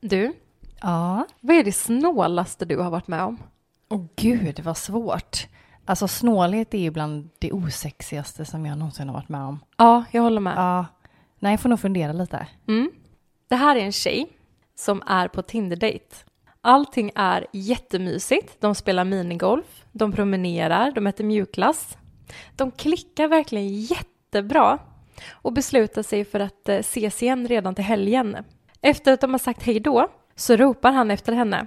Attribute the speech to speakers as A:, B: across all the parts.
A: Du,
B: Ja.
A: vad är det snålaste du har varit med om?
B: Åh gud vad svårt. Alltså snålhet är ju bland det osexigaste som jag någonsin har varit med om.
A: Ja, jag håller med.
B: Ja. Nej, jag får nog fundera lite.
A: Mm. Det här är en tjej som är på Tinder-date. Allting är jättemysigt. De spelar minigolf, de promenerar, de äter mjukglass. De klickar verkligen jättebra och beslutar sig för att eh, ses igen redan till helgen. Efter att de har sagt hej då så ropar han efter henne.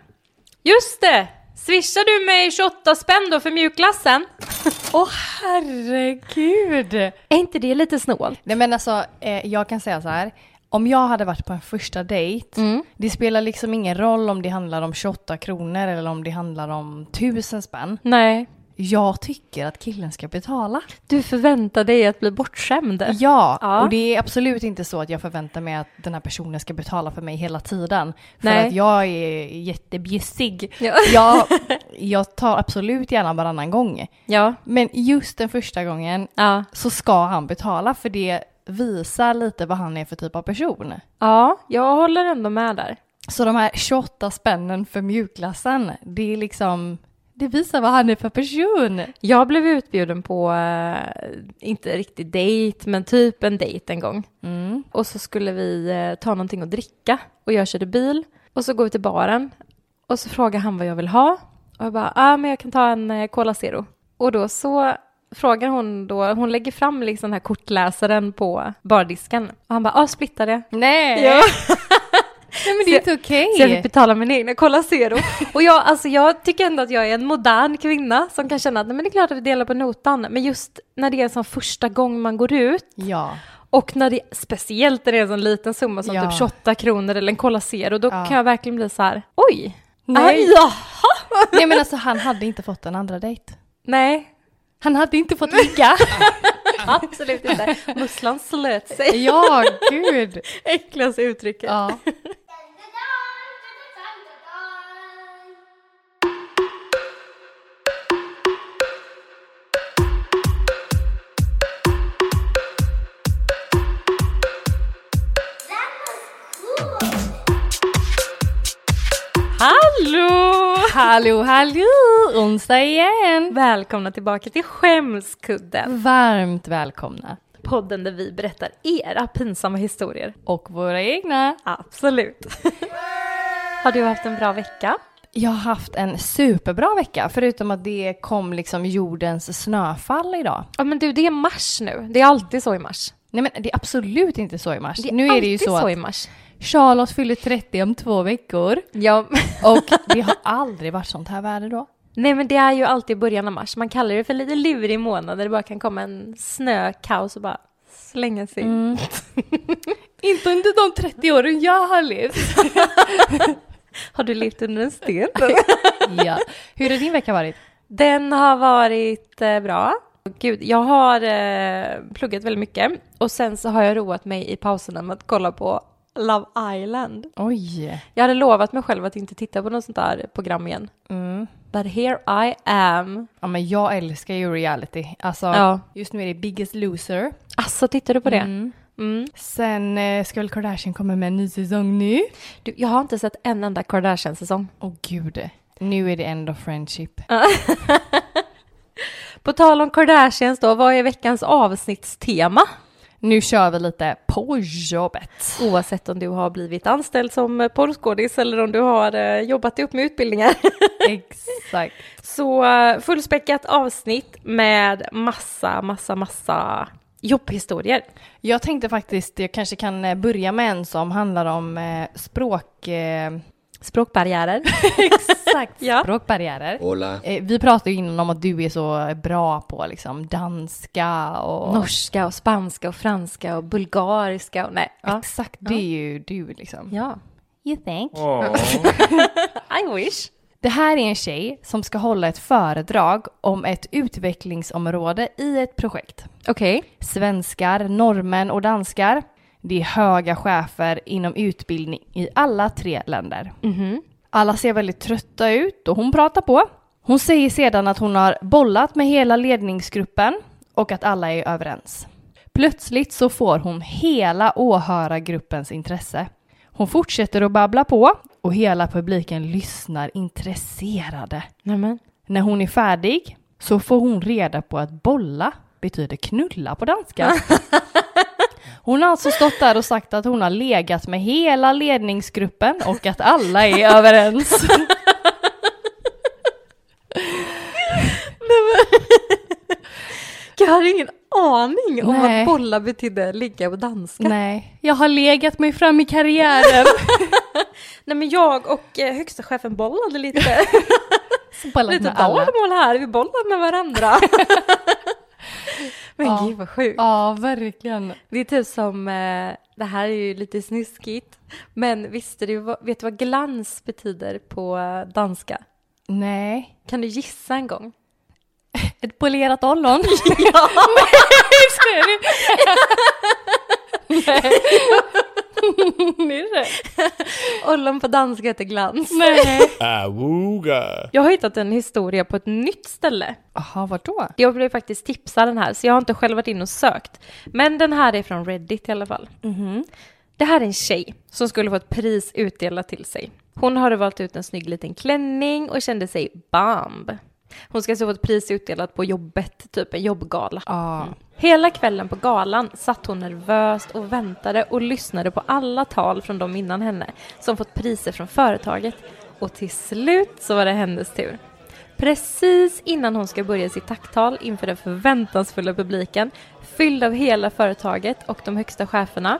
A: Just det! Swishar du mig 28 spänn då för mjukglassen?
B: Åh herregud!
A: Är inte det lite snålt?
B: Nej men alltså, eh, jag kan säga så här. Om jag hade varit på en första dejt, det spelar liksom ingen roll om det handlar om 28 kronor eller om det handlar om 1000 spänn.
A: Nej.
B: Jag tycker att killen ska betala.
A: Du förväntar dig att bli bortskämd.
B: Ja,
A: Ja.
B: och det är absolut inte så att jag förväntar mig att den här personen ska betala för mig hela tiden. För
A: Nej.
B: att jag är jättebjussig.
A: Ja.
B: Jag, jag tar absolut gärna varannan gång.
A: Ja.
B: Men just den första gången
A: Ja.
B: så ska han betala för det visar lite vad han är för typ av person.
A: Ja, jag håller ändå med där.
B: Så de här 28 spännen för mjukglassen, det är liksom, det visar vad han är för person.
A: Jag blev utbjuden på, eh, inte riktigt dejt, men typ en dejt en gång.
B: Mm.
A: Och så skulle vi eh, ta någonting att dricka och jag körde bil och så går vi till baren och så frågar han vad jag vill ha och jag bara, ja ah, men jag kan ta en eh, Cola Zero. Och då så frågar hon då, hon lägger fram liksom den här kortläsaren på bardisken och han bara, ja ah, splitta det.
B: Nej,
A: Ja.
B: nej men det är inte okej.
A: Så jag fick betala min egna Cola Zero. Och jag, alltså, jag tycker ändå att jag är en modern kvinna som kan känna att nej, men det är klart att vi delar på notan. Men just när det är en sån första gång man går ut
B: Ja.
A: och när det, speciellt när det är en sån liten summa som
B: Ja.
A: typ 28 kronor eller en Cola Zero, då
B: Ja.
A: kan jag verkligen bli så här, oj,
B: Nej.
A: aj, ja.
B: Nej men alltså han hade inte fått en andra dejt.
A: Nej,
B: Han hade inte fått ligga.
A: absolut inte. Musslan slöt sig.
B: ja, gud.
A: Enklaste uttrycket.
B: Ja.
A: Hallå!
B: Hallå, hallå! Onsdag igen!
A: Välkomna tillbaka till Skämskudden,
B: Varmt välkomna.
A: podden där vi berättar era pinsamma historier.
B: Och våra egna.
A: Absolut. Har du haft en bra vecka?
B: Jag har haft en superbra vecka, förutom att det kom liksom jordens snöfall idag.
A: Ja men du, det är mars nu. Det är alltid så i mars.
B: Nej men det är absolut inte så i mars.
A: Det är
B: nu är det ju
A: alltid
B: så,
A: så i
B: att
A: mars.
B: Charlotte fyller 30 om två veckor.
A: Ja.
B: Och det har aldrig varit sånt här väder då.
A: Nej men det är ju alltid början av mars. Man kallar det för lite lurig månad där det bara kan komma en snökaos och bara slänga sig.
B: Mm. Inte under de 30 åren jag har levt.
A: Har du levt under en sten?
B: ja. Hur har din vecka varit?
A: Den har varit eh, bra. Gud, jag har eh, pluggat väldigt mycket och sen så har jag roat mig i pauserna med att kolla på Love Island.
B: Oj.
A: Jag hade lovat mig själv att inte titta på något sånt där program igen.
B: Mm.
A: But here I am.
B: Ja men jag älskar ju reality. Alltså
A: Ja.
B: just nu är det Biggest Loser.
A: Alltså, tittar du på det? Mm.
B: Sen eh, ska väl Kardashian komma med en ny säsong nu?
A: Du, jag har inte sett en enda Kardashian-säsong.
B: Åh gud. Nu är det end of friendship.
A: På tal om Kardashians då, vad är veckans avsnittstema?
B: Nu kör vi lite på jobbet.
A: Oavsett om du har blivit anställd som eh, porrskådis eller om du har eh, jobbat dig upp med utbildningar.
B: Exakt.
A: Så eh, fullspäckat avsnitt med massa, massa, massa jobbhistorier.
B: Jag tänkte faktiskt, jag kanske kan eh, börja med en som handlar om eh, språk... Eh,
A: Språkbarriärer.
B: Exakt,
A: Ja.
B: språkbarriärer.
C: Hola.
B: Eh, vi pratade ju innan om att du är så bra på liksom danska och...
A: Norska och spanska och franska och bulgariska och nej. Ja.
B: Exakt, det är ju du liksom.
A: ja.
B: You think?
A: I wish.
B: Det här är en tjej som ska hålla ett föredrag om ett utvecklingsområde i ett projekt.
A: Okej.
B: Svenskar, norrmän och danskar. Det är höga chefer inom utbildning i alla tre länder.
A: Mm-hmm.
B: Alla ser väldigt trötta ut och hon pratar på. Hon säger sedan att hon har bollat med hela ledningsgruppen och att alla är överens. Plötsligt så får hon hela åhörargruppens intresse. Hon fortsätter att babbla på och hela publiken lyssnar intresserade.
A: Nämen.
B: När hon är färdig så får hon reda på att bolla betyder knulla på danska. Hon har alltså stått där och sagt att hon har legat med hela ledningsgruppen och att alla är överens.
A: Jag hade ingen aning om
B: Nej.
A: att bolla betydde ligga och danska. Nej,
B: Nej, jag har legat mig fram i karriären.
A: men jag och eh, högsta chefen bollade lite,
B: Bollat
A: lite
B: med alla.
A: dalmål här, vi bollade med varandra. men
B: Ja.
A: gud vad sjukt.
B: Ja, verkligen.
A: Det är typ som, eh, det här är ju lite snuskigt, men visste du, vad- vet du vad glans betyder på eh, danska?
B: Nej.
A: Kan du gissa en gång?
B: Ett polerat ollon?
A: Ja!
B: Nej. Är det?
A: Ollon på danska heter glans.
B: Nej.
C: Awooga.
A: Jag har hittat en historia på ett nytt ställe.
B: Jaha, vadå?
A: Jag blev faktiskt tipsad den här, så jag har inte själv varit inne och sökt. Men den här är från Reddit i alla fall. Det här är en tjej som skulle få ett pris utdelat till sig. Hon hade valt ut en snygg liten klänning och kände sig bomb. Hon ska alltså få ett pris utdelat på jobbet, typ en jobbgala. Mm.
B: Ja.
A: Hela kvällen på galan satt hon nervöst och väntade och lyssnade på alla tal från de innan henne som fått priser från företaget. Och till slut så var det hennes tur. Precis innan hon ska börja sitt tacktal inför den förväntansfulla publiken, fylld av hela företaget och de högsta cheferna,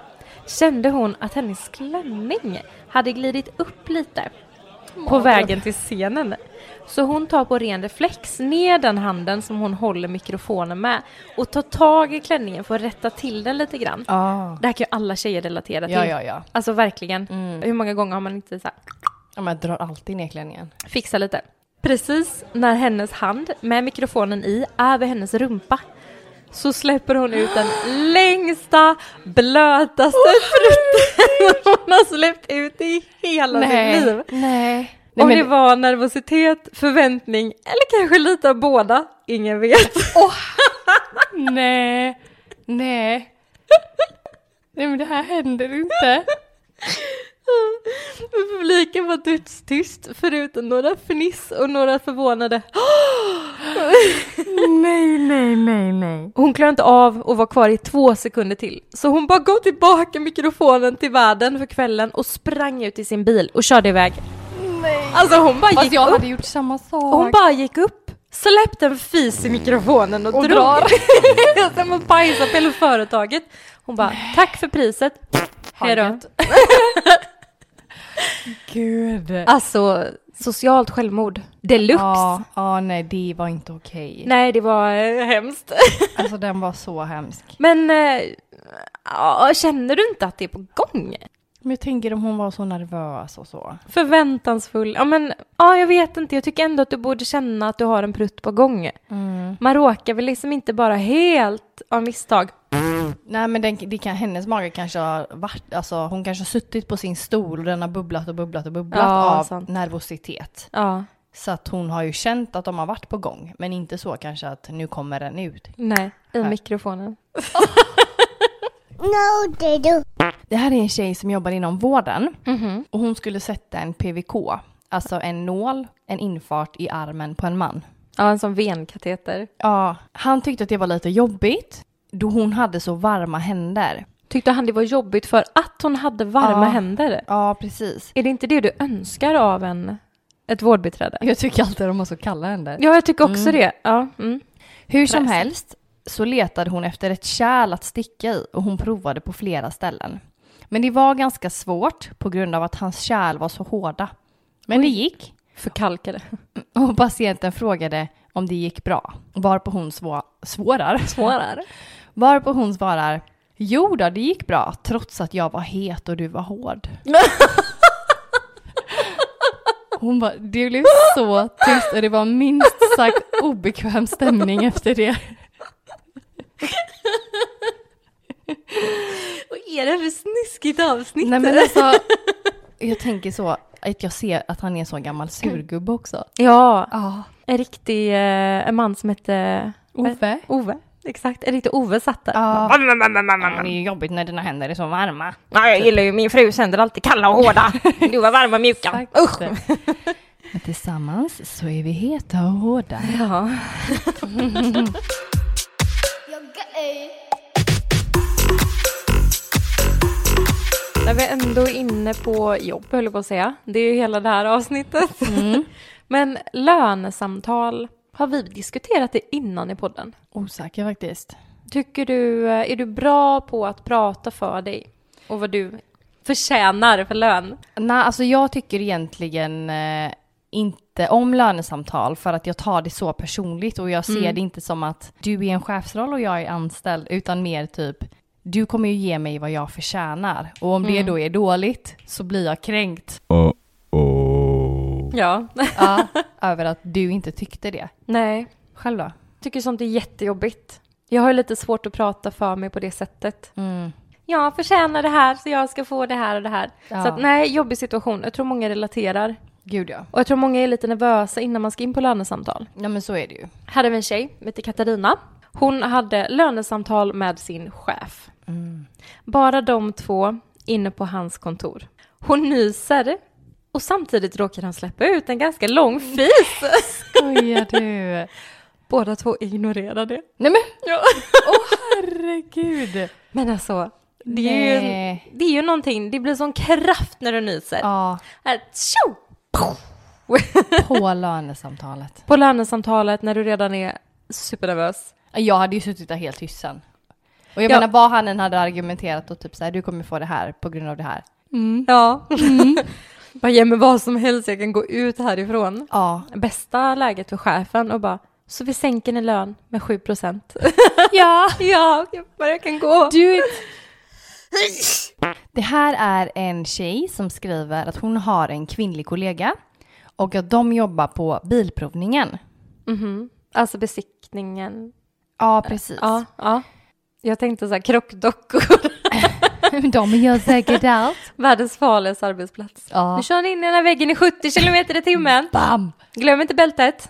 A: kände hon att hennes klänning hade glidit upp lite på vägen till scenen. Så hon tar på ren reflex ner den handen som hon håller mikrofonen med och tar tag i klänningen för att rätta till den lite grann.
B: Ja.
A: Det här kan ju alla tjejer relatera till.
B: Ja, ja, ja.
A: Alltså verkligen.
B: Mm.
A: Hur många gånger har man inte så här,
B: Ja, men jag drar alltid ner klänningen.
A: fixa lite. Precis när hennes hand med mikrofonen i är vid hennes rumpa så släpper hon ut den längsta, blötaste prutten hon har släppt ut i hela sitt liv.
B: Nej.
A: Om
B: men-
A: det var nervositet, förväntning eller kanske lite av båda, ingen vet.
B: Nej. Nej. Nej, men det här händer inte.
A: Men Publiken var dödstyst förutom några fniss och några förvånade
B: Nej, nej, nej, nej.
A: Hon klarade inte av att vara kvar i två sekunder till. Så hon bara gav tillbaka mikrofonen till världen för kvällen och sprang ut i sin bil och körde iväg.
B: Nej.
A: Alltså hon bara
B: Fast
A: gick
B: jag
A: upp.
B: hade gjort samma sak.
A: Hon bara gick upp, släppte en fis i mikrofonen och,
B: Och
A: drog.
B: drar.
A: Och Sen man pajsade hela företaget. Hon bara, tack för priset.
B: Ha
A: Hejdå.
B: gött. Gud.
A: Alltså, socialt självmord. Deluxe.
B: Ja, ja, nej, det var inte okej.
A: Nej, det var eh, hemskt.
B: Alltså den var så hemsk.
A: Men eh, ja, känner du inte att det är på gång?
B: Men jag tänker om hon var så nervös och så.
A: Förväntansfull. Ja, men ja, jag vet inte. Jag tycker ändå att du borde känna att du har en prutt på gång.
B: Mm.
A: Man råkar väl liksom inte bara helt av misstag.
B: Nej men den, det kan, hennes mage kanske har varit, alltså hon kanske har suttit på sin stol och den har bubblat och bubblat och bubblat
A: Ja,
B: av
A: sant.
B: nervositet.
A: Ja,
B: Så att hon har ju känt att de har varit på gång, men inte så kanske att nu kommer den ut.
A: nej, i mikrofonen.
D: No, they do.
B: Det här är en tjej som jobbar inom vården
A: Mhm.
B: och hon skulle sätta en PVK, alltså en nål, en infart i armen på en man.
A: Ja, en sån venkateter.
B: Ja, han tyckte att det var lite jobbigt då hon hade så varma händer.
A: Tyckte han det var jobbigt för att hon hade varma
B: Ja.
A: händer?
B: Ja, precis.
A: Är det inte det du önskar av en, ett vårdbiträde?
B: Jag tycker alltid att de har så kalla händer.
A: Ja, jag tycker också det. Ja, mm.
B: Hur som
A: Fräs.
B: helst så letade hon efter ett kärl att sticka i och hon provade på flera ställen. Men det var ganska svårt på grund av att hans kärl var så hårda. Men det gick
A: Förkalkade.
B: och patienten frågade om det gick bra. Varpå hon svå- svårar.
A: Svårare.
B: Varpå hon svarar Jo då, det gick bra trots att jag var het och du var hård. Hon bara, det blev så tyst och det var minst sagt obekväm stämning efter det.
A: Vad är det för snuskigt avsnitt?
B: Nej men alltså, jag tänker så att jag ser att han är en sån gammal surgubbe också.
A: Ja,
B: Ja.
A: en riktig eh, en man som hette
B: Ove.
A: Ove. exakt. Är lite Ove satt där.
B: Ja.
A: Bara, "Mam, mam, mam, mam, mam,
B: Det är
A: mam."
B: ju jobbigt när dina händer är så varma.
A: Nej, jag gillar ju min frus händer alltid kalla och hårda. Du var varma och mjuka.
B: Exakt.
A: Usch!
B: Men tillsammans så är vi heta och hårda.
A: Ja.
C: You're gay.
A: När vi ändå är inne på jobb, höll jag på att säga. Det är ju hela det här avsnittet. Men lönesamtal har vi diskuterat det innan i podden.
B: Osäker faktiskt.
A: Tycker du, eh, är du bra på att prata för dig och vad du förtjänar för lön?
B: Nej, alltså jag tycker egentligen eh, inte om lönesamtal för att jag tar det så personligt och jag ser det inte som att du är en chefsroll och jag är anställd utan mer typ du kommer ju ge mig vad jag förtjänar och om det då är dåligt så blir jag kränkt
A: Ja.
B: ja, över att du inte tyckte det.
A: Nej,
B: Själv då?
A: tycker sånt är jättejobbigt. Jag har ju lite svårt att prata för mig på det sättet.
B: Mm.
A: Jag förtjänar det här så jag ska få det här och det här.
B: Ja.
A: Så att, nej, jobbig situation. Jag tror många relaterar.
B: Gud ja.
A: Och jag tror många är lite nervösa innan man ska in på lönesamtal.
B: Ja men så är det ju.
A: Här är vi en tjej, som heter Katarina. Hon hade lönesamtal med sin chef.
B: Mm.
A: Bara de två inne på hans kontor. Hon nyser och samtidigt råkar han släppa ut en ganska lång fis.
B: Skojar du?
A: Båda två ignorerar det.
B: Nej men
A: Ja.
B: herregud.
A: Men alltså, det är, ju,
B: Nej.
A: det är ju någonting, det blir sån kraft när du nyser.
B: Ja,
A: Här, tjo!
B: på lönesamtalet.
A: På lönesamtalet när du redan är supernervös.
B: Jag hade ju suttit där helt tyst sen. Och jag
A: Ja.
B: menar vad han än hade argumenterat och typ så här, du kommer få det här på grund av det här.
A: Ja.
B: Mm.
A: Bara ge mig vad som helst, jag kan gå ut härifrån.
B: Ja.
A: bästa läget för chefen och bara så vi sänker din lön med 7 procent.
B: ja.
A: ja, jag bara jag kan gå.
B: Du... Det här är en tjej som skriver att hon har en kvinnlig kollega och att de jobbar på bilprovningen.
A: Mhm. Alltså besiktningen.
B: Ja, precis.
A: Ja, ja. Jag tänkte så här krockdockor,
B: De gör säkert allt.
A: världens farligaste arbetsplats.
B: Ja.
A: Nu kör ni in i den här väggen i 70 kilometer i timmen.
B: Bam!
A: Glöm inte bältet.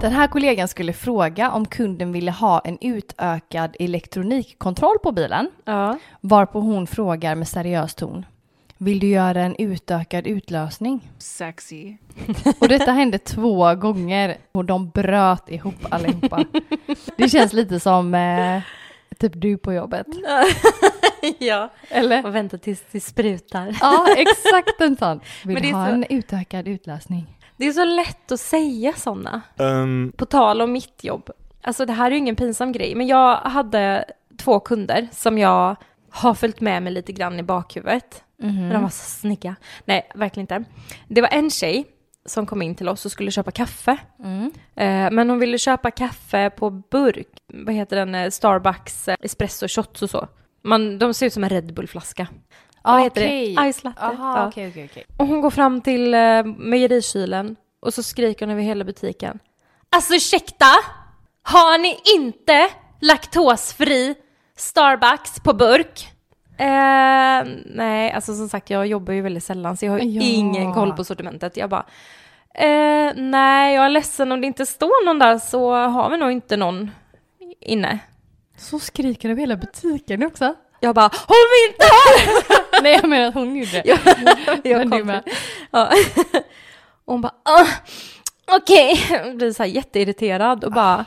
B: Den här kollegan skulle fråga om kunden ville ha en utökad elektronikkontroll på bilen.
A: Ja.
B: Varpå hon frågar med seriös ton. Vill du göra en utökad utlösning?
D: sexy.
B: Och detta hände två gånger och de bröt ihop allihopa. Det känns lite som eh, typ du på jobbet.
A: ja.
B: Eller?
A: Och vänta tills det sprutar.
B: Ja, exakt en sån.
A: Men
B: Vill du
A: det är
B: ha
A: så-
B: en utökad utlösning?
A: Det är så lätt att säga sådana.
E: Um,
A: På tal om mitt jobb. Alltså det här är ju ingen pinsam grej, men jag hade två kunder som jag har följt med mig lite grann i bakhuvudet. För De var så snygga. Nej, verkligen inte. Det var en tjej som kom in till oss och skulle köpa kaffe. Eh, Men hon ville köpa kaffe på burk. Vad heter den? eh, Starbucks eh, espresso shots och så. Man, de ser ut som en Red Bull-flaska. Vad heter det? Ice latte. Ja.
B: okej, okej, okej.
A: Och hon går fram till eh, mejerikylen och så skriker hon över hela butiken. Alltså ursäkta! Har ni inte laktosfri Starbucks på burk? Eh, nej, alltså som sagt jag jobbar ju väldigt sällan så jag har ju
B: Ja.
A: ingen koll på sortimentet. Jag bara, eh, nej jag är ledsen om det inte står någon där så har vi nog inte någon inne.
B: Så skriker de hela butiken också.
A: Jag bara, om vi inte har
B: Nej, jag menar att hon gjorde det.
A: Jag
B: Men
A: kom
B: du med.
A: till- Ja. Och hon bara, "Ah, okej, blir så här jätteirriterad och bara,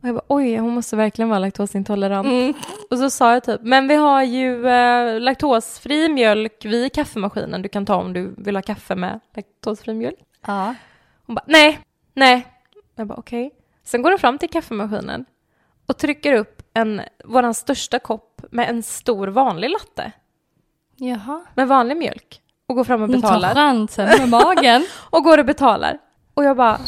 A: och jag bara, oj, hon måste verkligen vara laktosintolerant.
B: Mm.
A: Och så sa jag typ, men vi har ju eh, laktosfri mjölk vid kaffemaskinen du kan ta om du vill ha kaffe med laktosfri mjölk.
B: Ja.
A: Hon bara, nej, nej. Jag bara, okej. Sen går hon fram till kaffemaskinen och trycker upp en, våran största kopp med en stor vanlig latte,
B: Jaha.
A: med vanlig mjölk och går fram och
B: Hon tar
A: betalar
B: chansen med magen.
A: och går och betalar. Och jag bara,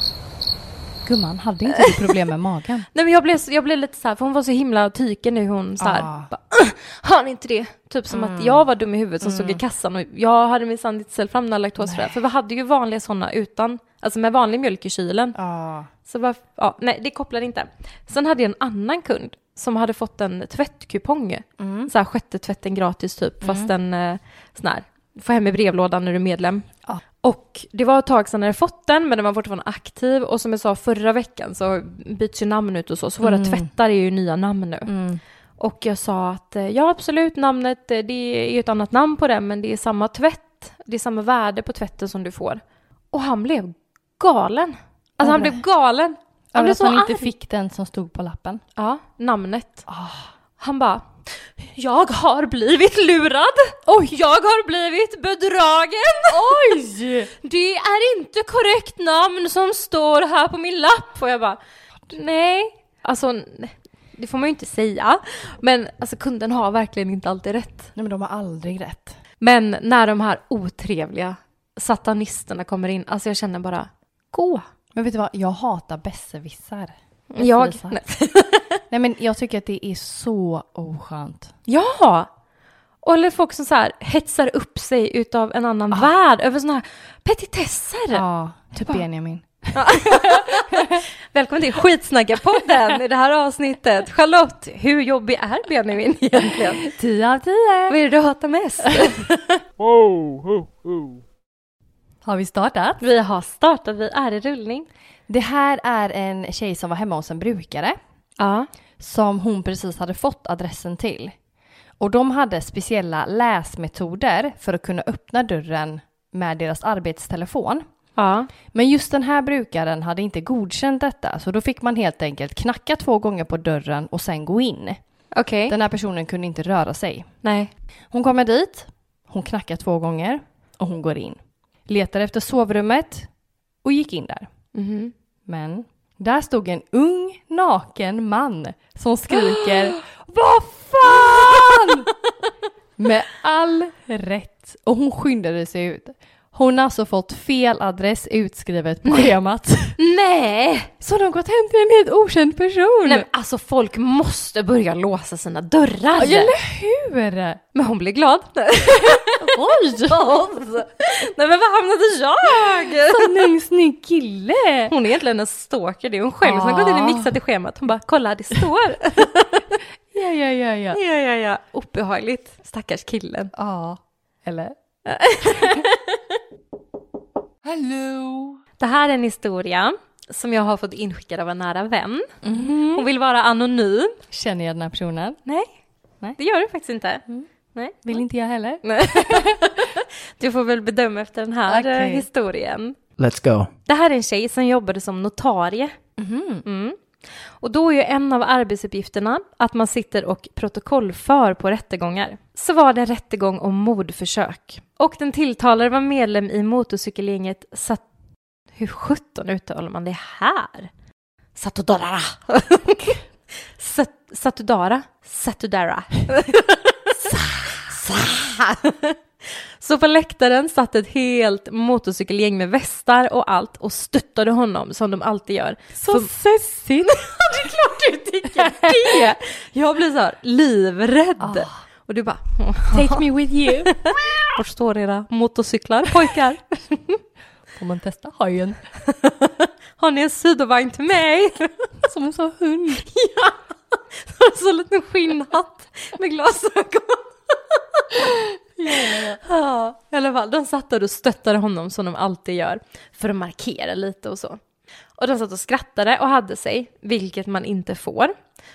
B: Gumman, hade inte du problem med magen?
A: nej men jag blev, så- jag blev lite så här, för hon var så himla tyken nu hon så här,
B: Ah.
A: bara, "Ugh, har ni inte det? Typ som att jag var dum i huvudet som stod i kassan och jag hade minsann inte ställt fram några laktosfria, för vi hade ju vanliga sådana utan, alltså med vanlig mjölk i kylen.
B: Ja.
A: Så varf- ja, nej det kopplade inte. Sen hade jag en annan kund som hade fått en tvättkupong, så här sjätte tvätten gratis typ, fast en eh, sån här, får hem i brevlådan när du är medlem.
B: Ja.
A: Och det var ett tag sedan jag hade fått den, men den var fortfarande aktiv. Och som jag sa förra veckan så byts ju namn ut och så, så våra tvättar är ju nya namn nu. Och jag sa att eh, ja absolut, namnet, eh, det är ju ett annat namn på den, men det är samma tvätt. Det är samma värde på tvätten som du får. Och han blev galen. Alltså han
B: Över-
A: blev galen. Han
B: Över
A: blev
B: att
A: så
B: man
A: arg.
B: inte fick den som stod på lappen.
A: Ja, namnet. Han bara jag har blivit lurad! Oj. Jag har blivit bedragen! Oj! Det är inte korrekt namn som står här på min lapp! Och jag bara, nej. Alltså, nej, det får man ju inte säga. Men alltså, kunden har verkligen inte alltid rätt.
B: Nej men de har aldrig rätt.
A: Men när de här otrevliga satanisterna kommer in, alltså jag känner bara, gå!
B: Men vet du vad, jag hatar besserwissar.
A: Jag...
B: Besserwissar.
A: Nej.
B: Nej men jag tycker att det är så oskönt.
A: Ja! Och eller folk som så här hetsar upp sig utav en annan värld över såna här petitesser.
B: Ja, typ
A: bara-
B: Benjamin.
A: Välkommen till Skitsnackarpodden i det här avsnittet. Charlotte, hur jobbig är Benjamin egentligen?
B: 10 av 10!
A: Vad är det du hatar mest?
D: Oh,
B: Har vi startat?
A: Vi har startat, vi är i rullning.
B: Det här är en tjej som var hemma hos en brukare
A: Ja.
B: som hon precis hade fått adressen till. Och de hade speciella läsmetoder för att kunna öppna dörren med deras arbetstelefon.
A: Ja.
B: Men just den här brukaren hade inte godkänt detta så då fick man helt enkelt knacka två gånger på dörren och sen gå in.
A: Okej.
B: Den här personen kunde inte röra sig.
A: Nej.
B: Hon kommer dit, hon knackar två gånger och hon går in. Letar efter sovrummet och gick in där.
A: Mhm.
B: Men där stod en ung naken man som skriker Vad fan! Med all rätt. Och hon skyndade sig ut. Hon har alltså fått fel adress utskrivet på schemat.
A: Nej!
B: Så de har gått hem till en helt okänd person.
A: Nej men alltså folk måste börja låsa sina dörrar.
B: Ja, Eller hur?
A: Men hon blir glad.
B: Oj!
A: Nej men var hamnade jag?
B: Sanning, snygg kille!
A: Hon är egentligen en stalker, det är hon själv som har gått in och
B: Ja.
A: mixat i schemat. Hon bara, kolla det står.
B: Ja, ja, ja, ja.
A: ja, ja, ja. Obehagligt. Stackars killen.
B: Ja. Eller? Hello!
A: Det här är en historia som jag har fått inskickad av en nära vän. Hon vill vara anonym.
B: Känner jag den här personen?
A: Mhm. Nej, Mm.
B: Nej.
A: det gör du faktiskt inte. Nej.
B: Vill inte jag heller.
A: Du får väl bedöma efter den här eh,
B: Okej.
A: historien.
D: Let's go.
A: Det här är en tjej som jobbade som notarie. Mm. Och då är ju en av arbetsuppgifterna att man sitter och protokollför på rättegångar. Så var det en rättegång om mordförsök. Och den tilltalade var medlem i motorcykelgänget Sat... Hur sjutton uttalar man det här? Satudara! Sat- Satudara? Satudara. Så på läktaren satt ett helt motorcykelgäng med västar och allt och stöttade honom som de alltid gör.
B: Så
A: För-
B: sessigt!
A: det är klart du tycker det! Jag blir så här livrädd. Och du bara,
B: Take me with you!
A: var står era motorcyklar pojkar?
B: Får man testa hojen?
A: Har ni en sidovagn till mig?
B: Som en sån hund.
A: ja! Och så en liten skinnhatt med glasögon. Ja, i alla fall, de satt där och stöttade honom som de alltid gör för att markera lite och så. Och de satt och skrattade och hade sig, vilket man inte får.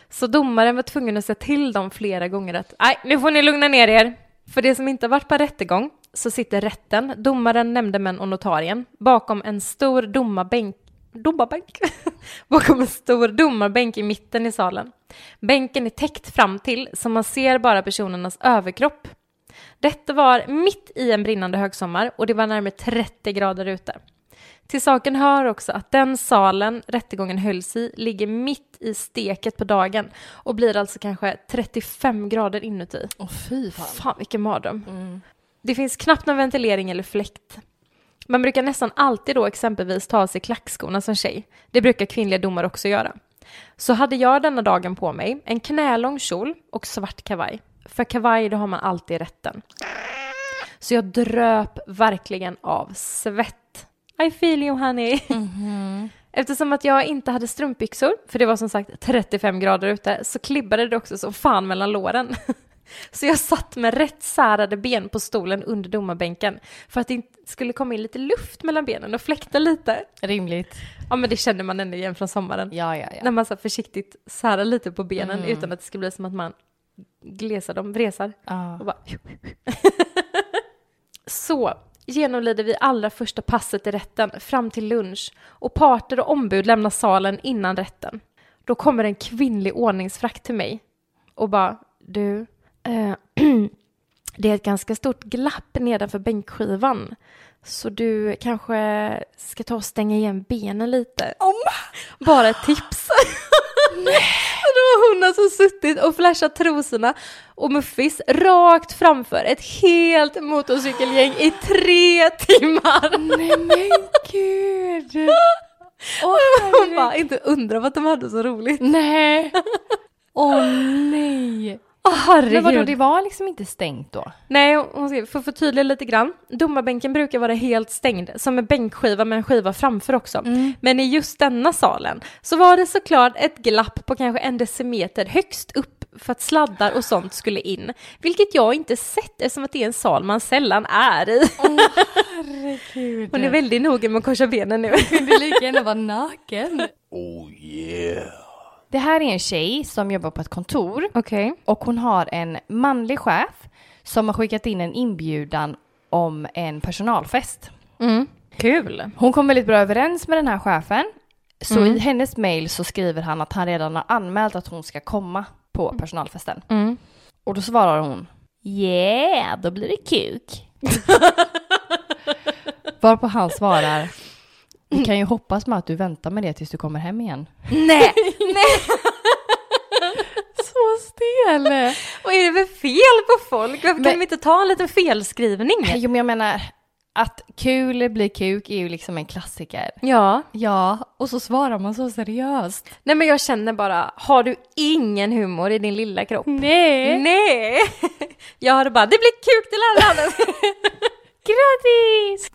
A: Så domaren var tvungen att säga till dem flera gånger att nej, nu får ni lugna ner er. För det som inte har varit på rättegång så sitter rätten, domaren, nämndemän och notarien bakom en stor domarbänk domarbänk? bakom en stor domarbänk i mitten i salen. Bänken är täckt fram till så man ser bara personernas överkropp. Detta var mitt i en brinnande högsommar och det var närmare 30 grader ute. Till saken hör också att den salen rättegången hölls i ligger mitt i steket på dagen och blir alltså kanske 35 grader inuti.
B: Åh fy
A: Fan vilken mardröm. Det finns knappt någon ventilering eller fläkt. Man brukar nästan alltid då exempelvis ta av sig klackskorna som tjej. Det brukar kvinnliga domare också göra. Så hade jag denna dagen på mig en knälång kjol och svart kavaj. För kavaj, det har man alltid i rätten. Så jag dröp verkligen av svett. I feel you honey. Eftersom att jag inte hade strumpbyxor, för det var som sagt 35 grader ute, så klibbade det också som fan mellan låren. Så jag satt med rätt särade ben på stolen under domarbänken för att det inte skulle komma in lite luft mellan benen och fläkta lite.
B: Rimligt.
A: Ja men det känner man ändå igen från sommaren.
B: Ja, ja, Mm.
A: När
B: ja.
A: man så här försiktigt särar lite på benen utan att det ska bli som att man glesar dem, vresar.
B: Ja.
A: Och bara... så genomlider vi allra första passet i rätten fram till lunch och parter och ombud lämnar salen innan rätten. Då kommer en kvinnlig ordningsfrakt till mig och bara du, eh, det är ett ganska stort glapp nedanför bänkskivan så du kanske ska ta och stänga igen benen lite. Bara ett tips. Och det var hon som suttit och flashat trosorna och muffis rakt framför ett helt motorcykelgäng i tre timmar.
B: Nej men gud!
A: Och hon bara inte undrar vad de hade så roligt.
B: Nej! Åh nej!
A: Åh herregud.
B: Men vadå, det var liksom inte stängt då?
A: Nej, hon skriver, för att förtydliga lite grann. Domarbänken brukar vara helt stängd, som en bänkskiva med en skiva framför också. Men i just denna salen så var det såklart ett glapp på kanske en decimeter högst upp för att sladdar och sånt skulle in. Vilket jag inte sett eftersom att det är en sal man sällan är i.
B: Herregud.
A: Hon är väldigt noga med att korsa benen nu.
B: kunde lika gärna vara naken. Oh yeah! Det här är en tjej som jobbar på ett kontor
A: Okej.
B: och hon har en manlig chef som har skickat in en inbjudan om en personalfest.
A: Kul.
B: Hon kom väldigt bra överens med den här chefen. Så i hennes mail så skriver han att han redan har anmält att hon ska komma på personalfesten.
A: Mm.
B: Och då svarar hon Yeah, då blir det kuk. Varpå han svarar Vi kan ju hoppas med att du väntar med det tills du kommer hem igen.
A: Nej!
B: Så stel!
A: Vad är det för fel på folk? Varför kan
B: Men-
A: de inte ta en liten felskrivning?
B: jo men jag menar, att kul blir kuk är ju liksom en klassiker.
A: Ja.
B: Ja, och så svarar man så seriöst.
A: Nej men jag känner bara, har du ingen humor i din lilla kropp?
B: Nej!
A: Nej! Jag hade bara, det blir kuk till alla andra.
B: Grattis!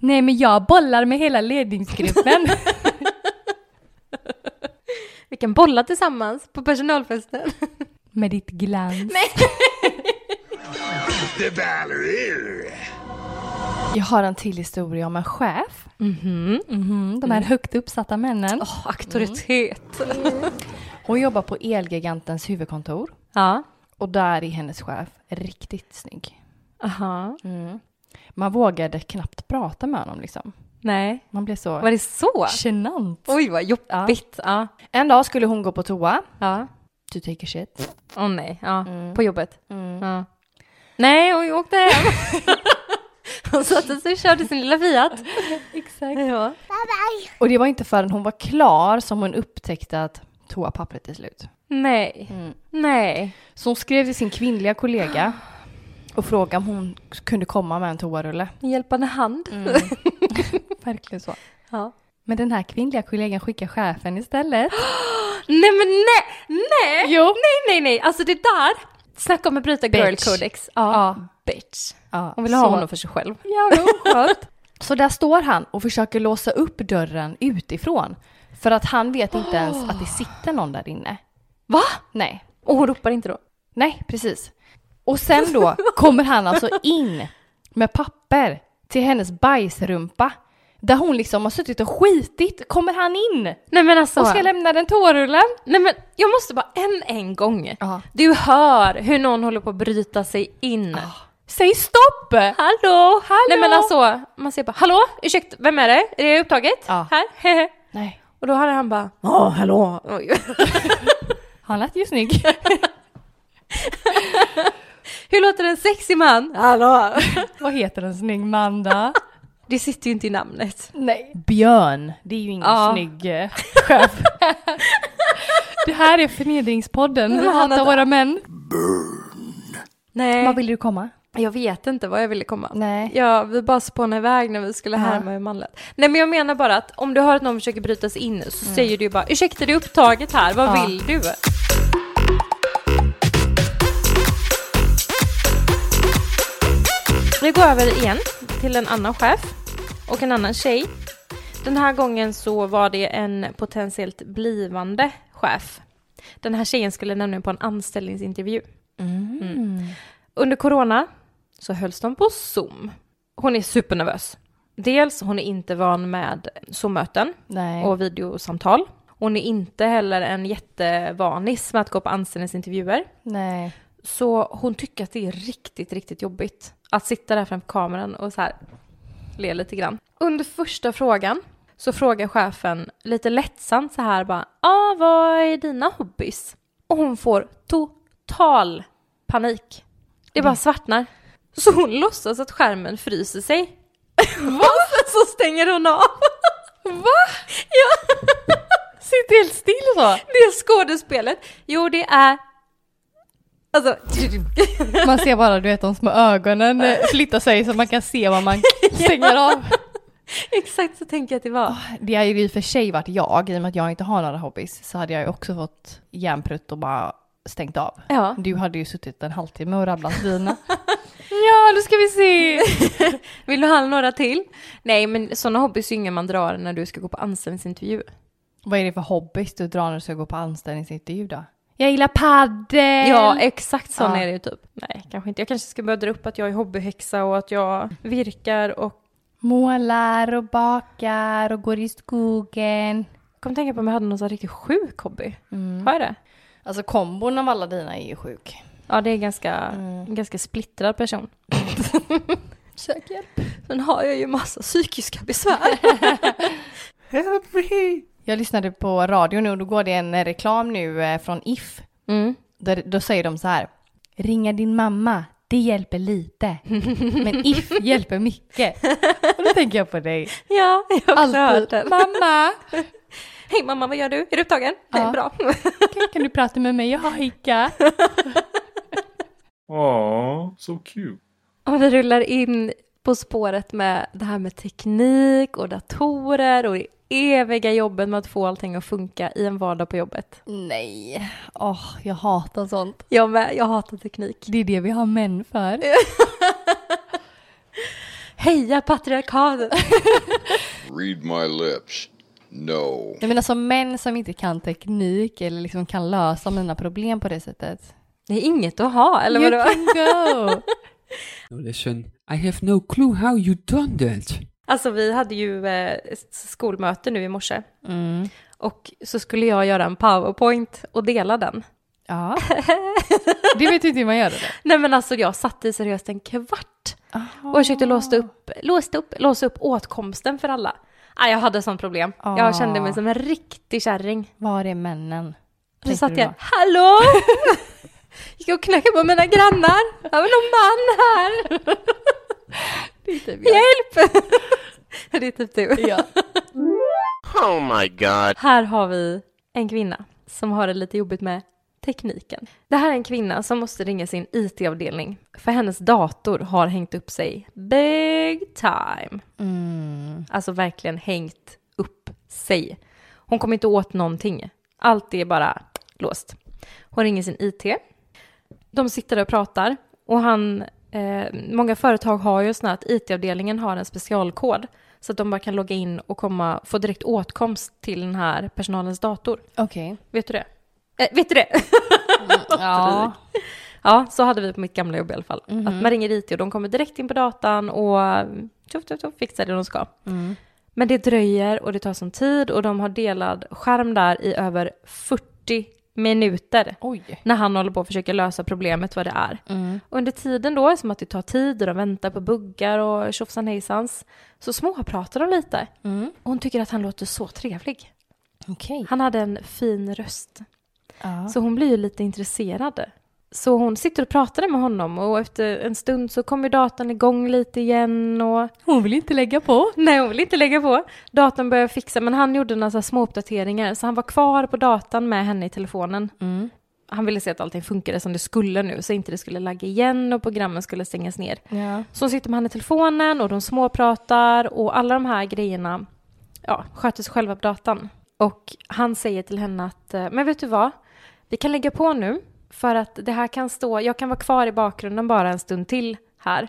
B: Nej men jag bollar med hela ledningsgruppen.
A: Vi kan bolla tillsammans på personalfesten.
B: med ditt glans.
D: The Valerie.
B: Jag har en till historia om en chef. Mhm, de här högt uppsatta männen.
A: Åh, auktoritet.
B: Hon jobbar på Elgigantens huvudkontor.
A: Ja.
B: Och där är hennes chef riktigt snygg.
A: Aha.
B: Man vågade knappt prata med honom liksom.
A: Nej.
B: Man blev så
A: Var det så?
B: genant.
A: Oj vad jobbigt. Ja.
B: En dag skulle hon gå på toa.
A: Ja.
B: To take a shit.
A: Åh nej. Ja. På jobbet. Ja. Nej, och jag åkte hem. Hon satte sig och körde sin lilla Fiat.
B: Exakt.
A: Ja.
B: Och det var inte förrän hon var klar som hon upptäckte att toapappret är slut.
A: Nej. Nej.
B: Så hon skrev till sin kvinnliga kollega och frågade om hon kunde komma med en toarulle.
A: En Hjälpande hand.
B: Verkligen så.
A: Ja.
B: Men den här kvinnliga kollegan skickar chefen istället.
A: Nej men nej, nej!
B: Jo.
A: Nej nej nej, alltså det där! Snacka om att bryta girl
B: Bitch.
A: codex.
B: Ja.
A: Bitch.
B: Ja,
A: Hon vill ha honom för sig själv.
B: Ja, jo, skönt. Så där står han och försöker låsa upp dörren utifrån. För att han vet inte ens att det sitter någon där inne.
A: Va?
B: Nej,
A: Och hon ropar inte då?
B: nej precis. Och sen då kommer han alltså in med papper till hennes bajsrumpa. Där hon liksom har suttit och skitit kommer han in
A: Nej men alltså.
B: och ska lämna den tårullen.
A: nej men jag måste bara en en gång.
B: Ja.
A: Du hör hur någon håller på att bryta sig in.
B: Säg stopp!
A: Hallå?
B: Hallå?
A: Nej men alltså, man säger bara hallå, ursäkta, vem är det? Är det upptaget?
B: Ja.
A: Här? Hehe.
B: Nej,
A: Och då hade han bara, ja hallå. Oj.
B: han lät ju snygg.
A: Hur låter en sexig man? Hallå.
B: Vad heter en snygg man då?
A: Det sitter ju inte i namnet.
B: Nej. Björn, det är ju ingen
A: Ja.
B: snygg eh, chef. det här är förnedringspodden, vi
A: Men han
B: hatar
A: hade-
B: våra män.
A: Nej.
B: Vad vill du komma?
A: Jag vet inte vad jag ville komma.
B: Nej.
A: Ja, vi bara spånade iväg när vi skulle härma hur man lät. Nej men jag menar bara att om du hör att någon försöker bryta sig in så säger du ju bara ursäkta det är upptaget här, vad
B: Mm. Ja.
A: vill du? Vi går över igen till en annan chef och en annan tjej. Den här gången så var det en potentiellt blivande chef Den här tjejen skulle nämligen på en anställningsintervju. Mm. Under corona så hölls de på Zoom. Hon är supernervös. Dels, hon är inte van med Zoom-möten
B: Nej.
A: och videosamtal. Hon är inte heller en jättevanis med att gå på anställningsintervjuer.
B: Nej.
A: Så hon tycker att det är riktigt, riktigt jobbigt att sitta där framför kameran och så här le lite grann. Under första frågan så frågar chefen lite lättsamt så här bara ah, vad är dina hobbys? Och hon får total panik. Det
B: Mm.
A: bara svartnar. Så hon låtsas att skärmen fryser sig. Va? så stänger hon av. Va? Ja.
B: Sitt helt still så.
A: Det är skådespelet. Jo, det är... Alltså...
B: Man ser bara du vet de små ögonen eh, flytta sig så man kan se vad man stänger av.
A: Exakt så tänker jag att det var.
B: Det hade ju i och för sig varit jag, i och med att jag inte har några hobbys, så hade jag ju också fått järnprutt och bara stängt av.
A: Ja.
B: Du hade ju suttit en halvtimme och rabblat dina. ja, nu ska vi se!
A: Vill du ha några till? Nej, men sådana hobbys är ju inga man drar när du ska gå på anställningsintervju.
B: Vad är det för hobbys du drar när du ska gå på anställningsintervju då? Jag gillar padel!
A: Eh. Ja, exakt sån
B: Ja. e-
A: är det ju typ. Nej, kanske inte. Jag kanske ska börja dra upp att jag är hobbyhäxa och att jag virkar och...
B: Målar och bakar och går i skogen.
A: Jag kommer tänka på om jag hade någon sån riktigt sjuk hobby. Har jag det?
B: Alltså kombon av alla dina är ju sjuk.
A: Ja, det är ganska, en ganska splittrad person. Sök hjälp. Sen har jag ju massa psykiska besvär.
D: Help me!
B: Jag lyssnade på radio nu och då går det en eh, reklam nu eh, från If.
A: Mm.
B: Där, då säger de så här. Ringa din mamma, det hjälper lite. Men If hjälper mycket. Och då tänker jag på dig.
A: Ja, jag har också hört
B: Alltid.
A: den.
B: Mamma,
A: Hej mamma, vad gör du? Är du upptagen?
B: Ja.
A: Nej, bra.
B: kan, kan du prata med mig? Jag har hicka.
D: Aww, so cute.
A: Om vi rullar in på spåret med det här med teknik och datorer och det eviga jobbet med att få allting att funka i en vardag på jobbet.
B: Nej, åh, jag hatar sånt.
A: Jag med, jag hatar teknik.
B: Det är det vi har män för.
A: Heja patriarkatet!
D: Read my lips. No.
B: Jag menar som män som inte kan teknik eller liksom kan lösa mina problem på det sättet.
A: Det är inget att ha, eller
B: you
A: vadå?
B: can go!
E: No, listen, I have no clue how you done that.
A: Alltså vi hade ju eh, s- skolmöte nu i morse.
B: Mm.
A: Och så skulle jag göra en powerpoint och dela den.
B: Ja. Det vet ju inte hur man gör det.
A: Nej men alltså jag satt i seriöst en kvart och försökte låsa upp, låsa upp, låsa upp åtkomsten för alla. Ah, jag hade sånt problem.
B: Ah.
A: Jag kände mig som en riktig kärring.
B: Var är männen?
A: Så
B: Tänkte
A: satt
B: du
A: jag,
B: då?
A: hallå! Gick och knackade på mina grannar. Jag vill ha en man här! Hjälp! Det är typ du.
B: Ja.
F: Oh my god.
A: Här har vi en kvinna som har det lite jobbigt med tekniken. Det här är en kvinna som måste ringa sin IT-avdelning för hennes dator har hängt upp sig big time. Alltså verkligen hängt upp sig. Hon kommer inte åt någonting. Allt är bara låst. Hon ringer sin IT. De sitter där och pratar och han, eh, många företag har ju sådana att IT-avdelningen har en specialkod så att de bara kan logga in och komma, få direkt åtkomst till den här personalens dator.
B: Okej.
A: Vet du det? Eh, vet du det?
B: Ja.
A: Ja, så hade vi på mitt gamla jobb i alla fall. Att man ringer IT och de kommer direkt in på datan och mm, tjoff, tjoff, tjoff, fixar det de ska. Men det dröjer och det tar sån tid och de har delad skärm där i över 40 minuter
B: Oj.
A: när han håller på att försöka lösa problemet vad det är. Under tiden då, som att det tar tid och de väntar på buggar och tjofsan hejsans, så småpratar de lite. Och hon tycker att han låter så trevlig.
B: Okej.
A: Han hade en fin röst.
B: Ja.
A: Så hon blir ju lite intresserad. Så hon sitter och pratar med honom och efter en stund så kommer datorn igång lite igen och
B: Hon vill inte lägga på.
A: nej hon vill inte lägga på. Datorn börjar fixa men han gjorde några så här små uppdateringar så han var kvar på datan med henne i telefonen. Han ville se att allting funkade som det skulle nu så inte det skulle lagga igen och programmen skulle stängas ner.
B: Ja.
A: Så hon sitter med han i telefonen och de småpratar och alla de här grejerna ja, sköter sig själva på datan. Och han säger till henne att, eh, men vet du vad, vi kan lägga på nu för att det här kan stå, jag kan vara kvar i bakgrunden bara en stund till här.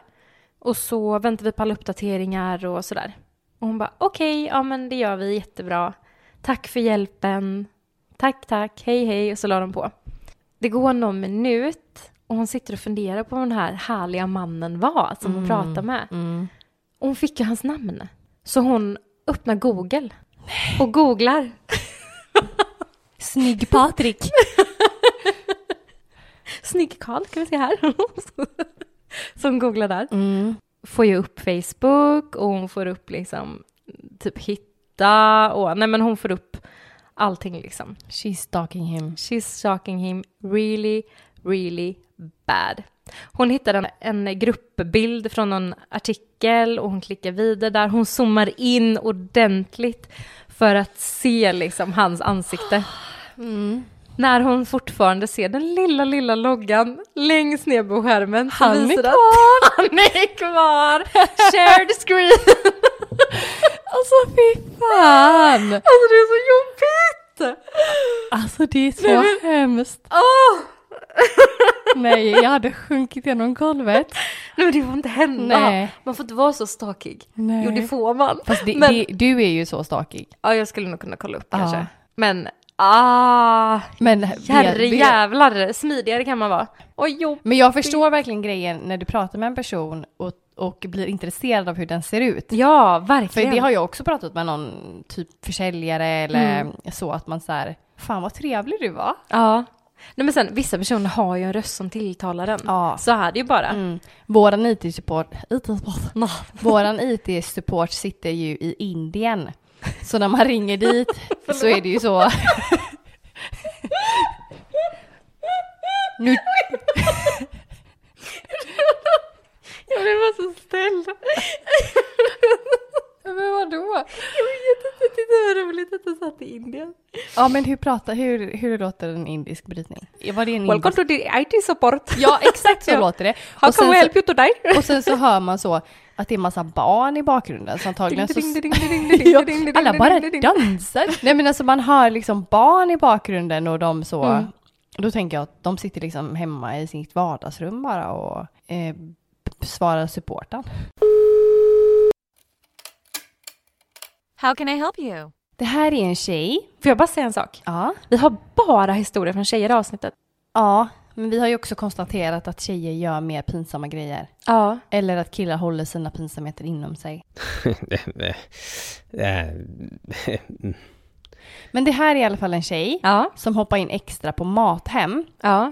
A: Och så väntar vi på alla uppdateringar och sådär. Och hon bara, okej, ja men det gör vi jättebra. Tack för hjälpen. Tack, tack, hej, hej. Och så la de på. Det går någon minut och hon sitter och funderar på vad den här härliga mannen var som hon pratade med. Och hon fick ju hans namn. Så hon öppnar Google och googlar.
B: Snygg Patrik.
A: Snygg Karl kan vi se här. så hon googlar där. Får ju upp Facebook och hon får upp liksom typ hitta och nej men hon får upp allting liksom.
B: She's stalking him.
A: She's stalking him really, really bad. Hon hittar en, en gruppbild från någon artikel och hon klickar vidare där. Hon zoomar in ordentligt för att se liksom hans ansikte. Mm. När hon fortfarande ser den lilla, lilla loggan längst ner på skärmen. så
B: Han är
A: visar det att- Han är kvar! Shared screen!
B: Alltså fy fan!
A: Alltså det är så jobbigt!
B: Alltså det är så
A: Nej,
B: hemskt.
A: Åh!
B: Nej, jag hade sjunkit genom golvet.
A: Nej men det får inte hända.
B: Nej.
A: Man får inte vara så stakig.
B: Nej.
A: Jo det får man.
B: Fast det,
A: men,
B: det, du är ju så stakig.
A: Ja jag skulle nog kunna kolla upp
B: Ja.
A: kanske. Men ah,
B: Men, vet- vet-
A: herrejävlar, smidigare kan man vara. Och jo,
B: men jag förstår verkligen grejen när du pratar med en person och, och blir intresserad av hur den ser ut.
A: ja
B: För
A: verkligen.
B: det har jag också pratat med någon typ försäljare eller
A: Mm.
B: så att man så här, fan vad trevlig du var.
A: Ja. Nej men sen vissa personer har ju en röst som tilltalar den.
B: Ja. Mm.
A: Så är det ju bara.
B: Våran IT-support, IT-support,
A: Nå.
B: Våran IT-support sitter ju i Indien. Så när man ringer dit så är det ju så. nu,
A: Jag blev bara så ställd.
B: men vadå?
A: Jag vet inte, jag tyckte det var roligt att du satt i Indien.
B: Ja men hur pratar, hur, hur låter en indisk brytning? Var det en
A: Welcome
B: indisk?
A: to the IT support.
B: Ja exakt så
A: Ja.
B: låter det.
A: How
B: Och sen
A: can we
B: så-
A: help you today?
B: Och sen så hör man så att det är massa barn i bakgrunden som antagligen så...
A: Ding, ding, ding, ding, ding, ding,
B: Ja,
A: ding, ding,
B: Alla
A: ding,
B: bara
A: ding, ding.
B: dansar. Nej men alltså man hör liksom barn i bakgrunden och de så...
A: Mm.
B: Då tänker jag att de sitter liksom hemma i sitt vardagsrum bara och eh, p- svarar supporten.
G: How can I help you?
B: Det här är en tjej.
A: Får jag bara säga en sak?
B: Ja.
A: Vi har bara historier från tjejer i avsnittet.
B: Ja, men vi har ju också konstaterat att tjejer gör mer pinsamma grejer.
A: Ja.
B: Eller att killar håller sina pinsamheter inom sig. Men det här är i alla fall en tjej
A: Ja.
B: som hoppar in extra på Mathem.
A: Ja.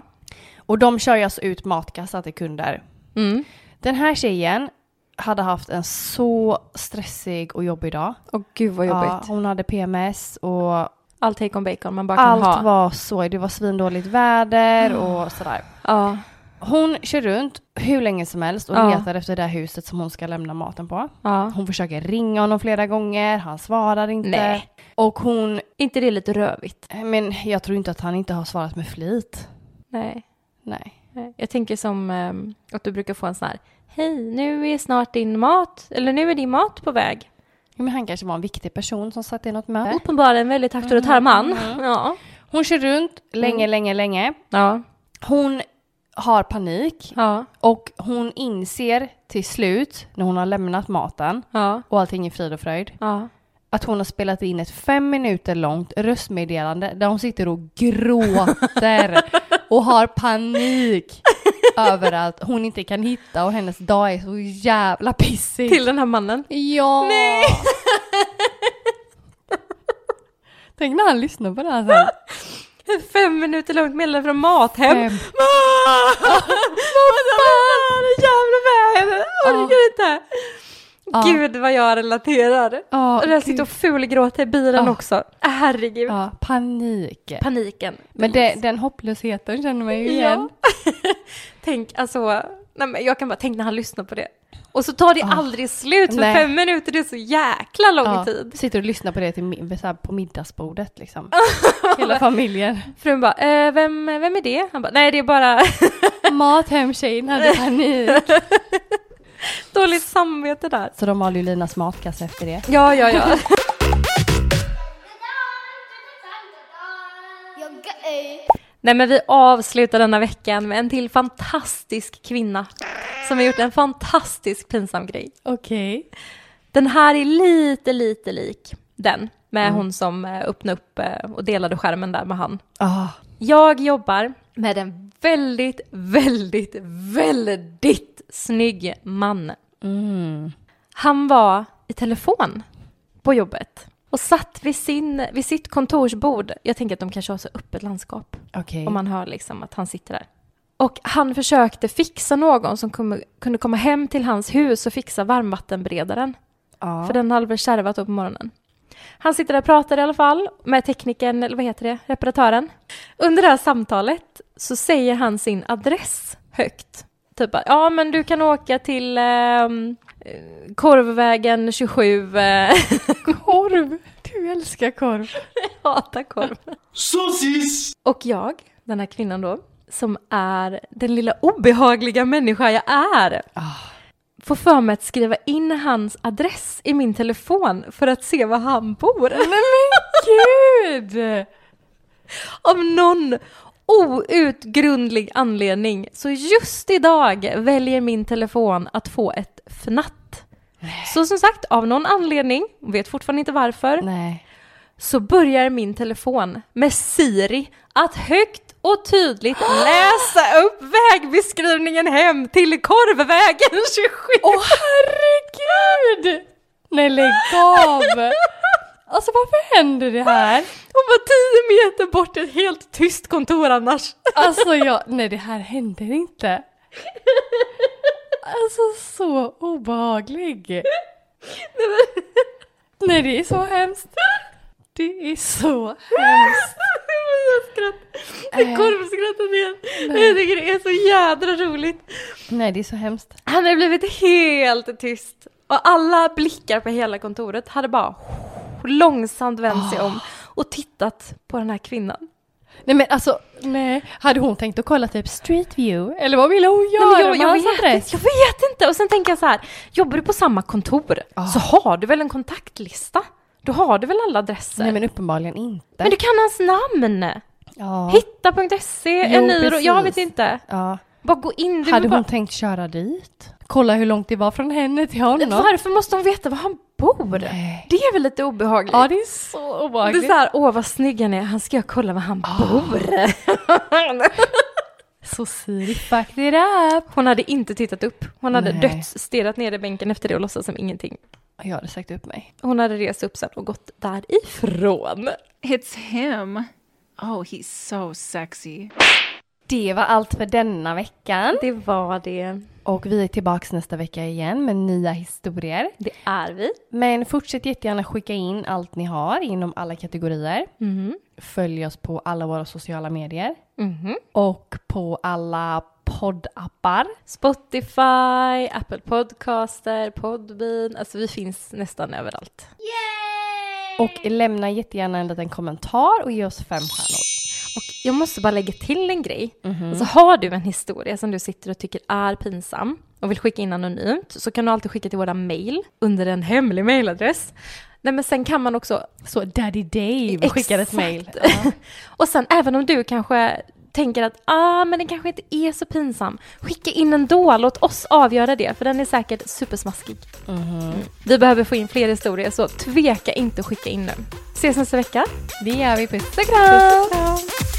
B: Och de kör ju alltså ut matkassar till kunder.
A: Mm.
B: Den här tjejen hade haft en så stressig och jobbig dag.
A: Och gud vad
B: Ja, hon hade PMS och
A: Allt hejkon bacon man bara kan ha. Ah.
B: allt var så, det var svindåligt väder och sådär.
A: Ja.
B: Hon kör runt hur länge som helst och
A: Ja.
B: letar efter det där huset som hon ska lämna maten på.
A: ja.
B: Hon försöker ringa honom flera gånger, han svarar inte.
A: Nej.
B: Och hon,
A: inte det lite rövigt?
B: men jag tror inte att han inte har svarat med flit.
A: Nej.
B: Nej.
A: Nej. Jag tänker som ehm, att du brukar få en sån här Hej, nu är snart din mat, eller nu är din mat på väg.
B: Jo, Men han kanske var en viktig person som satt i något möte.
A: Uppenbarligen väldigt auktoritär man. Ja.
B: Hon kör runt länge, länge, länge.
A: Ja.
B: Hon har panik
A: Ja.
B: och hon inser till slut när hon har lämnat maten
A: Ja.
B: och allting är frid och fröjd
A: Ja.
B: att hon har spelat in ett fem minuter långt röstmeddelande där hon sitter och gråter och har panik över att hon inte kan hitta och hennes dag är så jävla pissig.
A: Till den här mannen.
B: Ja! Nej. Tänk när han lyssnar på det här sen.
A: Fem minuter långt meddelande från Mathem.
B: Fem.
A: Vad fan, jävla vägen, orkar inte. Gud vad jag relaterar.
B: Ja,
A: och jag
B: gud.
A: sitter och fulgråter i bilen
B: Ja.
A: också. Herregud.
B: Ja, panik.
A: Paniken.
B: Men det, den hopplösheten känner man ju igen.
A: Tänk, alltså, nej men jag kan bara tänka när han lyssnar på det. Och så tar det aldrig slut, för
B: Nej.
A: fem minuter det är så jäkla lång tid.
B: Sitter och lyssnar på det till, mi- så här på middagsbordet liksom. Hela familjen.
A: Frun bara, eh, vem, vem är det? Han bara, nej det är bara
B: Mat hem tjejen hade panik.
A: dåligt samvete där.
B: Så de valde ju Linas matkasse efter det.
A: Ja, ja, ja.
C: Jag gay.
A: Nej men vi avslutar denna veckan med en till fantastisk kvinna som har gjort en fantastisk pinsam grej.
B: Okej.
A: Den här är lite, lite lik den. med hon som eh, öppnade upp eh, och delade skärmen där med han.
B: Ah,
A: Jag jobbar med en väldigt, väldigt, väldigt snygg man. Han var i telefon på jobbet och satt vid, sin, vid sitt kontorsbord. Jag tänker att de kanske har så öppet landskap.
B: okej.
A: Och man hör liksom att han sitter där. Och han försökte fixa någon som kom, kunde komma hem till hans hus och fixa varmvattenberedaren.
B: Ja.
A: För den hade väl kärvat då på morgonen. Han sitter där och pratar i alla fall med teknikern, eller vad heter det, reparatören. Under det här samtalet så säger han sin adress högt. Typ bara, ja men du kan åka till ehm, eh, Korvvägen 27. eh."
B: Korv! Du älskar korv.
A: Jag hatar korv. Och jag, den här kvinnan då, som är den lilla obehagliga människa jag är, får för mig att skriva in hans adress i min telefon för att se var han bor. Nej men gud! Av någon outgrundlig anledning. Så just idag väljer min telefon att få ett fnatt. Så som sagt, av någon anledning, vet fortfarande inte varför,
B: Nej.
A: så börjar min telefon med Siri att högt och tydligt läsa upp vägbeskrivningen hem till Korvvägen 27.
B: Åh herregud! Nej lägg av! Alltså varför händer det här?
A: Hon var 10 meter bort, ett helt tyst kontor annars.
B: Alltså jag, nej det här händer inte. Alltså så obehaglig. Nej det är så hemskt. Det är så hemskt.
A: Jag skrattar. Korvskrattet igen. Jag tycker det är så jädra roligt.
B: Nej det är så hemskt.
A: Han hade blivit helt tyst och alla blickar på hela kontoret hade bara långsamt vänt sig
B: Ah.
A: om och tittat på den här kvinnan.
B: Nej men alltså, nej. Hade hon tänkt att kolla typ street view? Eller vad ville hon
A: Nej,
B: göra
A: men jag,
B: med
A: jag,
B: hans
A: vet,
B: adress?
A: inte, jag vet inte. Och sen tänker jag så här, jobbar du på samma kontor
B: Ah.
A: så har du väl en kontaktlista? Då har du väl alla adresser?
B: Nej
A: men,
B: men uppenbarligen inte.
A: du kan hans namn!
B: ja.
A: Hitta.se,
B: Jo,
A: en ny, jag vet
B: precis.
A: inte.
B: ja.
A: Bara gå in. Du
B: Hade
A: vill bara,
B: hon tänkt köra dit? Kolla hur långt det var från henne till honom?
A: varför måste hon veta var han bor?
B: Nej.
A: Det är väl lite obehagligt?
B: Ja det är så
A: det är
B: obehagligt.
A: så här, åh vad snygg han är, han ska jag kolla var han bor.
B: Så Siri fucked it up.
A: Hon hade inte tittat upp. Hon hade
B: Nej.
A: dödsstirrat ner i bänken efter det och låtsas som ingenting.
B: Jag hade sagt upp mig.
A: Hon hade rest upp sen och gått därifrån.
H: It's him. Oh, he's so sexy.
B: Det var allt för denna veckan.
A: Det var det.
B: Och vi är tillbaks nästa vecka igen med nya historier.
A: Det är vi.
B: Men fortsätt jättegärna skicka in allt ni har inom alla kategorier.
A: Mm.
B: Följ oss på alla våra sociala medier. Och på alla poddappar.
A: Spotify, Apple Podcaster, Podbean. Alltså vi finns nästan överallt.
B: Och lämna jättegärna en liten kommentar och ge oss fem stjärnor.
A: Och jag måste bara lägga till en grej.
B: Mhm.
A: Alltså har du en historia som du sitter och tycker är pinsam och vill skicka in anonymt så kan du alltid skicka till våra mail under en hemlig mailadress. Nej men sen kan man också
B: Så Daddy Dave skickar
A: Exakt.
B: ett mail.
A: Och sen även om du kanske tänker att ah, men den kanske inte är så pinsam, skicka in ändå, låt oss avgöra det, för den är säkert supersmaskig.
B: Mhm.
A: Mm. Vi behöver få in fler historier, så tveka inte att skicka in nu. Ses nästa vecka.
B: Det gör vi. Puss och
A: Puss och kram!